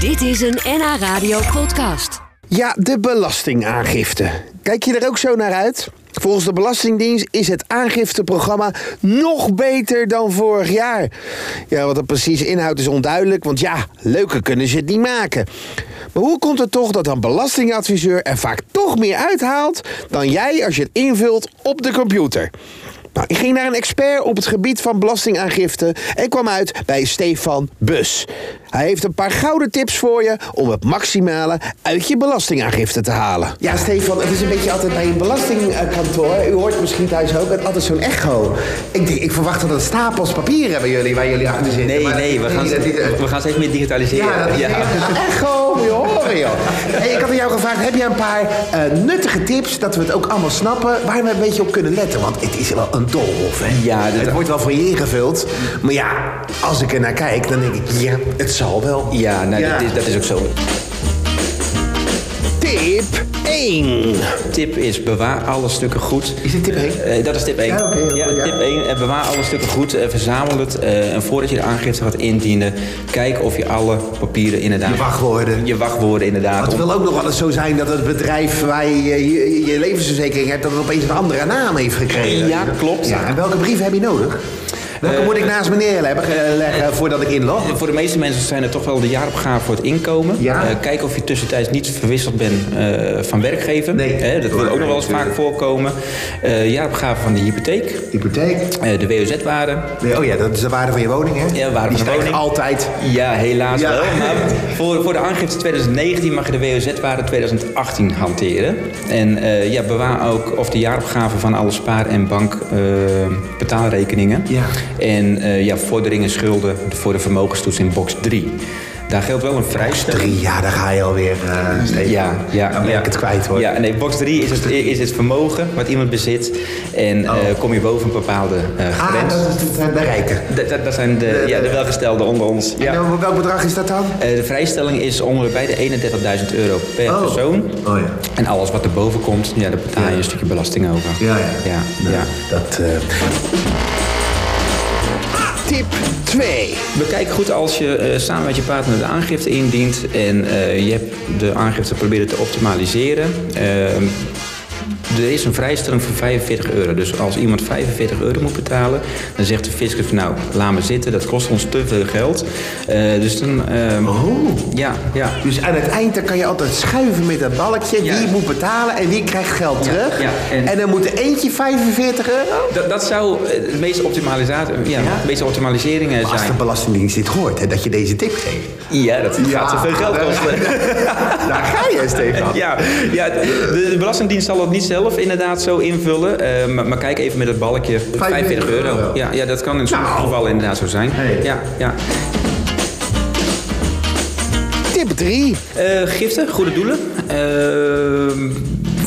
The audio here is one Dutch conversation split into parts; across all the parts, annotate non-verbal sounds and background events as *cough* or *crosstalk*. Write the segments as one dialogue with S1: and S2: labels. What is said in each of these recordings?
S1: Dit is een NH Radio podcast.
S2: Ja, de belastingaangifte. Kijk je er ook zo naar uit? Volgens de Belastingdienst is het aangifteprogramma nog beter dan vorig jaar. Ja, wat het precies inhoudt is onduidelijk, want ja, leuker kunnen ze het niet maken. Maar hoe komt het toch dat een belastingadviseur er vaak toch meer uithaalt dan jij als je het invult op de computer? Nou, ik ging naar een expert op het gebied van belastingaangifte en kwam uit bij Stefan Bus. Hij heeft een paar gouden tips voor je om het maximale uit je belastingaangifte te halen. Ja, Stefan, het is een beetje altijd bij een belastingkantoor. U hoort misschien thuis ook het altijd zo'n echo. Ik, denk, ik verwacht dat het stapels papier hebben jullie waar jullie achter zitten.
S3: Nee,
S2: maar
S3: nee, we
S2: dat-
S3: gaan,
S2: dat- dat-
S3: we gaan steeds meer digitaliseren.
S2: ja, dat is echt een echo. Moet je horen, joh. Hey, ik had aan jou gevraagd, heb jij een paar eh, nuttige tips... dat we het ook allemaal snappen, waar we een beetje op kunnen letten? Want het is wel een doolhof, hè?
S3: Ja, dat-
S2: Het wordt wel voor je ingevuld. Maar ja, als ik er naar kijk, dan denk ik, ja, het zal wel.
S3: Ja, nou, Dat, is, dat is ook zo.
S2: Tip 1.
S3: Tip is bewaar alle stukken goed.
S2: Is dit tip één?
S3: Eh, dat is tip 1.
S2: Ja, oké, heel goed, ja.
S3: tip 1. bewaar alle stukken goed. eh, verzamel het. eh, en voordat je de aangifte gaat indienen, kijk of je alle papieren inderdaad...
S2: Je wachtwoorden.
S3: Je wachtwoorden inderdaad.
S2: Het
S3: om-
S2: wil ook nog wel eens zo zijn dat het bedrijf waar je je, je levensverzekering hebt... dat het opeens een andere naam heeft gekregen.
S3: Ja, klopt. Eh,
S2: Ja, en welke brieven heb je nodig? Welke moet ik naast me neerleggen eh, leggen voordat ik inlog?
S3: Voor de meeste mensen zijn het toch wel de jaaropgave voor het inkomen.
S2: Ja.
S3: Eh, kijk of je tussentijds niet verwisseld bent eh, van werkgever.
S2: Nee.
S3: Hè, dat wil ook nog wel eens
S2: Nee,
S3: vaak voorkomen. Eh jaarupgave van de hypotheek.
S2: Hypotheek.
S3: eh, de WOZ-waarde.
S2: Nee, oh ja, dat is de waarde van je woning, hè?
S3: Ja, de waarde
S2: Die
S3: van de
S2: stijgt
S3: woning.
S2: altijd.
S3: Ja, helaas
S2: Ja.
S3: wel. Maar voor, voor de aangifte 2019 mag je de WOZ-waarde 2018 hanteren. En eh, ja, bewaar ook of de jaaropgave van alle spaar- en bankbetaalrekeningen.
S2: Ja.
S3: En eh, ja, vorderingen schulden voor de vermogenstoets in box 3. Daar geldt wel een vrijstelling.
S2: Drie jaar, daar ga je alweer. eh, Steven.
S3: Ja, ja.
S2: Dan ben
S3: ja.
S2: ik het kwijt, hoor.
S3: Ja, nee, box 3 is het, is het vermogen wat iemand bezit. En eh, kom je boven een bepaalde eh,
S2: Oh. Ah,
S3: grens.
S2: dat is het, eh, de rijken.
S3: Dat- dat- dat zijn de, ja, de welgestelden onder ons. Ja.
S2: En dan, welk bedrag is dat dan?
S3: Eh, de vrijstelling is ongeveer bij de 31.000 euro per
S2: Oh.
S3: persoon.
S2: Oh ja.
S3: En alles wat erboven komt, ja, daar betaal je een stukje belasting over.
S2: Ja, ja.
S3: ja, ja.
S2: Dat, eh, Tip 2.
S3: Bekijk goed als je eh, samen met je partner de aangifte indient en eh, je hebt de aangifte proberen te optimaliseren. Ehm, er is een vrijstelling van 45 euro. Dus als iemand 45 euro moet betalen, dan zegt de fiscus van nou, laat maar zitten, dat kost ons te veel geld. Eh, dus dan. ehm, Ja, ja.
S2: Oh. Dus aan het eind dan kan je altijd schuiven met dat balkje.
S3: Ja.
S2: Wie moet betalen en wie krijgt geld terug.
S3: ja,
S2: en...
S3: en-
S2: dan moet er eentje 45 euro.
S3: Dat, dat zou eh, het meeste optimalisatie, ja, het meeste optimaliseringen
S2: Maar als de
S3: zijn.
S2: Belastingdienst dit hoort, hè, dat je deze tip geeft.
S3: Ja, dat gaat te veel geld
S2: daar-
S3: kosten.
S2: Daar ga je, Stefan.
S3: *laughs* Ja, ja, de de Belastingdienst zal het niet zelf inderdaad zo invullen. eh, maar, maar kijk even met het balkje. 45 euro. Nou. Ja, ja, dat kan in sommige gevallen inderdaad zo zijn. Ja, ja.
S2: Tip 3.
S3: Eh, giften, goede doelen. Eh,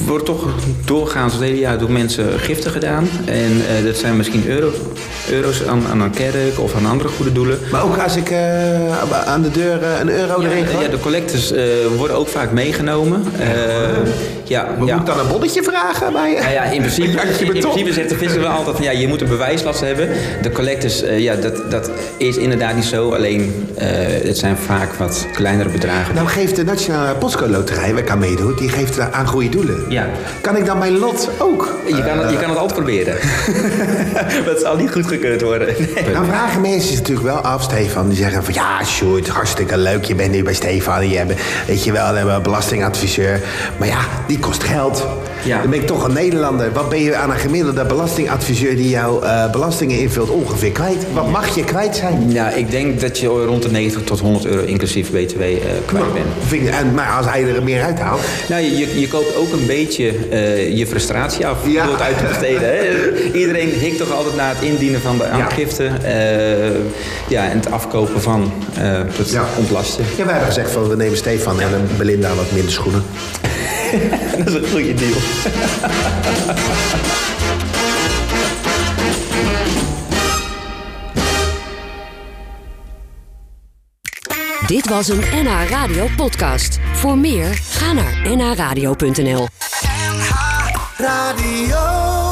S3: wordt toch doorgaans het hele jaar door mensen giften gedaan. En eh, dat zijn misschien euro, euro's aan, aan een kerk of aan andere goede doelen.
S2: Maar ook als ik eh, aan de deur eh, een euro erin
S3: Ja,
S2: gooi.
S3: ja, de collectors eh, worden ook vaak meegenomen. Eh, ja,
S2: Moet
S3: ja.
S2: ik dan een bonnetje vragen bij je?
S3: Nou ja, in principe,
S2: Ja, je
S3: in
S2: bent
S3: principe
S2: top.
S3: zegt de visser wel altijd van ja, je moet een bewijslast hebben. De collectors, eh, ja, dat, dat is inderdaad niet zo. Alleen eh, het zijn vaak wat kleinere bedragen.
S2: Nou geeft de Nationale Postcode Loterij, waar ik aan meedoe, die geeft eh, aan goede doelen.
S3: Ja.
S2: Kan ik dan mijn lot ook?
S3: Je kan, het, je kan het altijd proberen. *laughs* dat zal niet goedgekeurd worden. Nee.
S2: Dan vragen mensen zich natuurlijk wel af, Stefan. Die zeggen van ja, Sjoerd, hartstikke leuk. Je bent nu bij Stefan. Je hebt, weet je wel, we hebben een belastingadviseur. Maar ja, die kost geld.
S3: Ja.
S2: Dan ben ik toch een Nederlander. Wat ben je aan een gemiddelde belastingadviseur die jouw eh, belastingen invult ongeveer kwijt? Wat mag je kwijt zijn?
S3: Nou, ik denk dat je rond de 90 tot 100 euro inclusief BTW eh, kwijt bent.
S2: Vind ik- en, maar als hij er meer uithaalt.
S3: Nou, je- je, je koopt ook een beetje eh, je frustratie af
S2: Ja.
S3: door het uit te besteden. Hè?
S2: *laughs*
S3: Iedereen hikt toch altijd naar het indienen van de aangifte eh, ja, en het afkopen van eh het
S2: Ja.
S3: ontlasten. *laughs*
S2: Ja, wij hebben gezegd van we nemen Stefan en eh, Belinda wat minder schoenen.
S3: Dat is een goede deal.
S1: Dit was een NH Radio podcast. Voor meer, ga naar nhradio.nl.
S4: NH Radio.